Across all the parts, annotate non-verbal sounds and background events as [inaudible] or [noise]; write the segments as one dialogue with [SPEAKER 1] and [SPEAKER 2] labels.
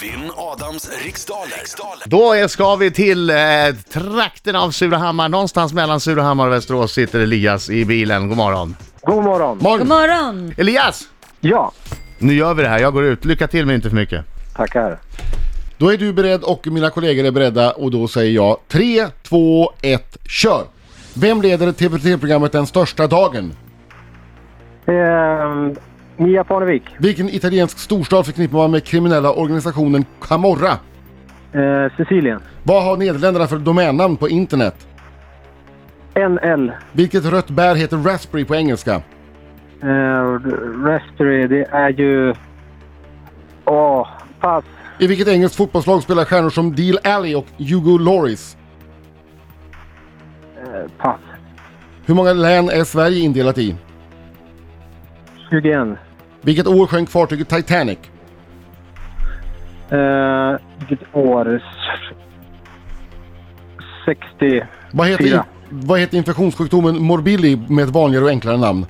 [SPEAKER 1] Vinn Adams riksdaler. riksdaler.
[SPEAKER 2] Då är- ska vi till eh, trakten av Surahammar. Någonstans mellan Surahammar och Västerås sitter Elias i bilen. God morgon.
[SPEAKER 3] God morgon.
[SPEAKER 2] morgon.
[SPEAKER 4] God morgon!
[SPEAKER 2] Elias!
[SPEAKER 3] Ja,
[SPEAKER 2] Nu gör vi det här. Jag går ut. Lycka till men inte för mycket.
[SPEAKER 3] tackar.
[SPEAKER 5] Då är du beredd och mina kollegor är beredda och då säger jag 3, 2, 1, kör! Vem leder TVT-programmet Den största dagen?
[SPEAKER 3] Ehm, Mia Parnevik,
[SPEAKER 5] Vilken italiensk storstad förknippar man med kriminella organisationen Camorra?
[SPEAKER 3] eh, Sicilien,
[SPEAKER 5] Vad har Nederländerna för domännamn på internet?
[SPEAKER 3] NL,
[SPEAKER 5] Vilket rött bär heter raspberry på engelska?
[SPEAKER 3] eh, Raspberry, det är ju... Åh, pass.
[SPEAKER 5] I vilket engelskt fotbollslag spelar stjärnor som Deal Alley och Hugo Lloris?
[SPEAKER 3] Eh, pass.
[SPEAKER 5] Hur många län är Sverige indelat i?
[SPEAKER 3] 21.
[SPEAKER 5] Vilket år sjönk fartyget Titanic?
[SPEAKER 3] Eh, vilket år? S- 60.
[SPEAKER 5] Vad heter,
[SPEAKER 3] Fyra.
[SPEAKER 5] vad heter infektionssjukdomen morbilli med ett vanligare och enklare namn?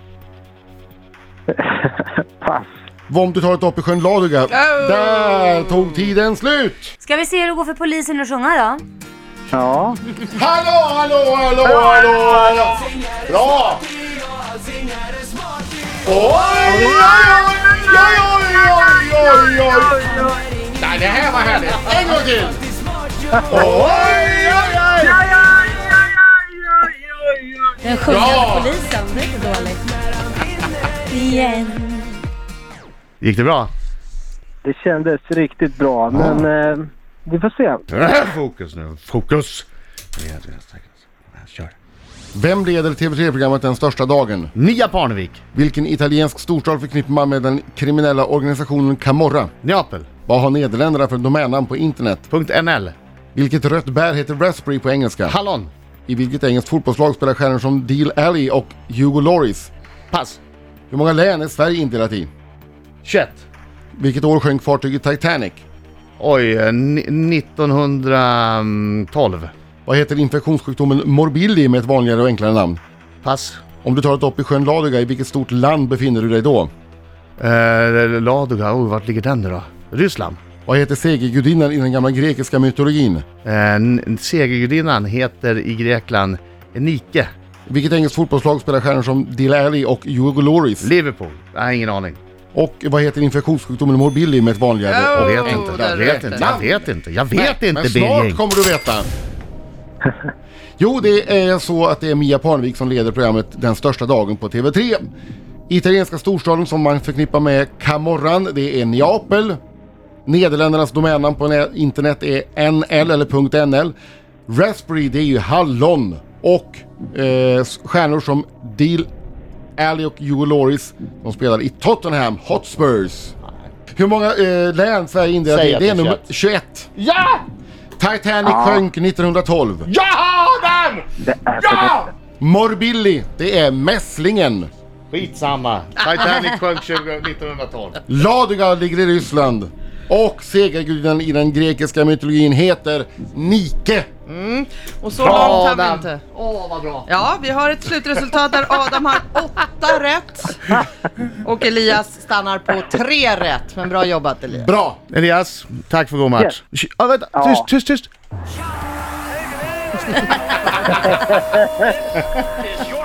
[SPEAKER 3] Pass.
[SPEAKER 5] Vad om du tar ett dopp i sjön Ladoga? Där tog tiden slut!
[SPEAKER 4] Ska vi se hur det går för polisen att sjunga då?
[SPEAKER 3] Ja.
[SPEAKER 5] Hallå, hallå, hallå, hallå, hallå! Bra! Oj, oj, oj, oj, oj, oj, oj! Nej, det här var härligt! En gång till! Oj, oj, oj!
[SPEAKER 4] Den sjungande
[SPEAKER 5] Bra!
[SPEAKER 4] polisen, det är inte dåligt. [laughs] Igen.
[SPEAKER 2] Gick det bra?
[SPEAKER 3] Det kändes riktigt bra, men eh, vi får se.
[SPEAKER 2] [laughs] Fokus nu. Fokus! Kör.
[SPEAKER 5] Vem leder TV3-programmet Den största dagen?
[SPEAKER 2] Mia Parnevik.
[SPEAKER 5] Vilken italiensk storstad förknippar man med den kriminella organisationen Camorra?
[SPEAKER 2] Neapel.
[SPEAKER 5] Vad har Nederländerna för domännamn på internet?
[SPEAKER 2] Punkt NL.
[SPEAKER 5] Vilket rött bär heter raspberry på engelska?
[SPEAKER 2] Hallon.
[SPEAKER 5] I vilket engelskt fotbollslag spelar stjärnor som Deal Alley och Hugo Lloris?
[SPEAKER 2] Pass.
[SPEAKER 5] Hur många län är Sverige indelat i?
[SPEAKER 2] 21.
[SPEAKER 5] Vilket år sjönk fartyget Titanic?
[SPEAKER 2] Oj, eh, ni- 1912.
[SPEAKER 5] Vad heter infektionssjukdomen morbilli med ett vanligare och enklare namn?
[SPEAKER 2] Pass.
[SPEAKER 5] Om du tar ett dopp i sjön Ladoga, i vilket stort land befinner du dig då?
[SPEAKER 2] Eh, Ladoga, oh, vart ligger den nu då? Ryssland?
[SPEAKER 5] Vad heter segergudinnan i den gamla grekiska mytologin?
[SPEAKER 2] Eh, n- segergudinnan heter i Grekland Nike.
[SPEAKER 5] Vilket engelskt fotbollslag spelar stjärnor som Deal Alley och Hugo Lloris?
[SPEAKER 2] Liverpool? Nej, ingen aning.
[SPEAKER 5] Och vad heter infektionssjukdomen morbilli med ett vanligare
[SPEAKER 2] Jag
[SPEAKER 5] och
[SPEAKER 2] vet inte. Jag vet inte. Jag vet inte. Jag vet inte,
[SPEAKER 5] Men snart
[SPEAKER 2] Birging.
[SPEAKER 5] kommer du
[SPEAKER 2] [laughs]
[SPEAKER 5] veta. Jo, det är så att det är Mia Parnevik som leder programmet Den största dagen på TV3. Italienska storstaden som man förknippar med Camorran, det är Neapel. Nederländernas domännamn på nä- internet är NL eller .nl. Raspberry, det är ju hallon. Och eh, stjärnor som Deal Alley och Hugo Loris, de spelar i Tottenham Hotspurs. Hur många eh, län Sverige är indelat
[SPEAKER 2] Säg
[SPEAKER 5] i?
[SPEAKER 2] att
[SPEAKER 5] Det
[SPEAKER 2] det
[SPEAKER 5] är
[SPEAKER 2] är
[SPEAKER 5] nummer 21.
[SPEAKER 2] Ja!
[SPEAKER 5] Titanic sjönk 1912.
[SPEAKER 2] Jag har den!
[SPEAKER 3] Det är för
[SPEAKER 2] Ja!
[SPEAKER 5] Morbilli, det är mässlingen.
[SPEAKER 2] Skitsamma. Titanic sjönk 20 1912.
[SPEAKER 5] Ladoga ligger i Ryssland. Och segergudinnan i den grekiska mytologin heter Nike.
[SPEAKER 6] Och så långt har vi inte.
[SPEAKER 2] Åh, vad bra.
[SPEAKER 6] Ja, vi har ett slutresultat där Adam har åtta rätt och Elias stannar på tre rätt. Men bra jobbat Elias.
[SPEAKER 5] Bra!
[SPEAKER 2] Elias, tack för god match. Ja, vänta. Tyst, tyst, tyst.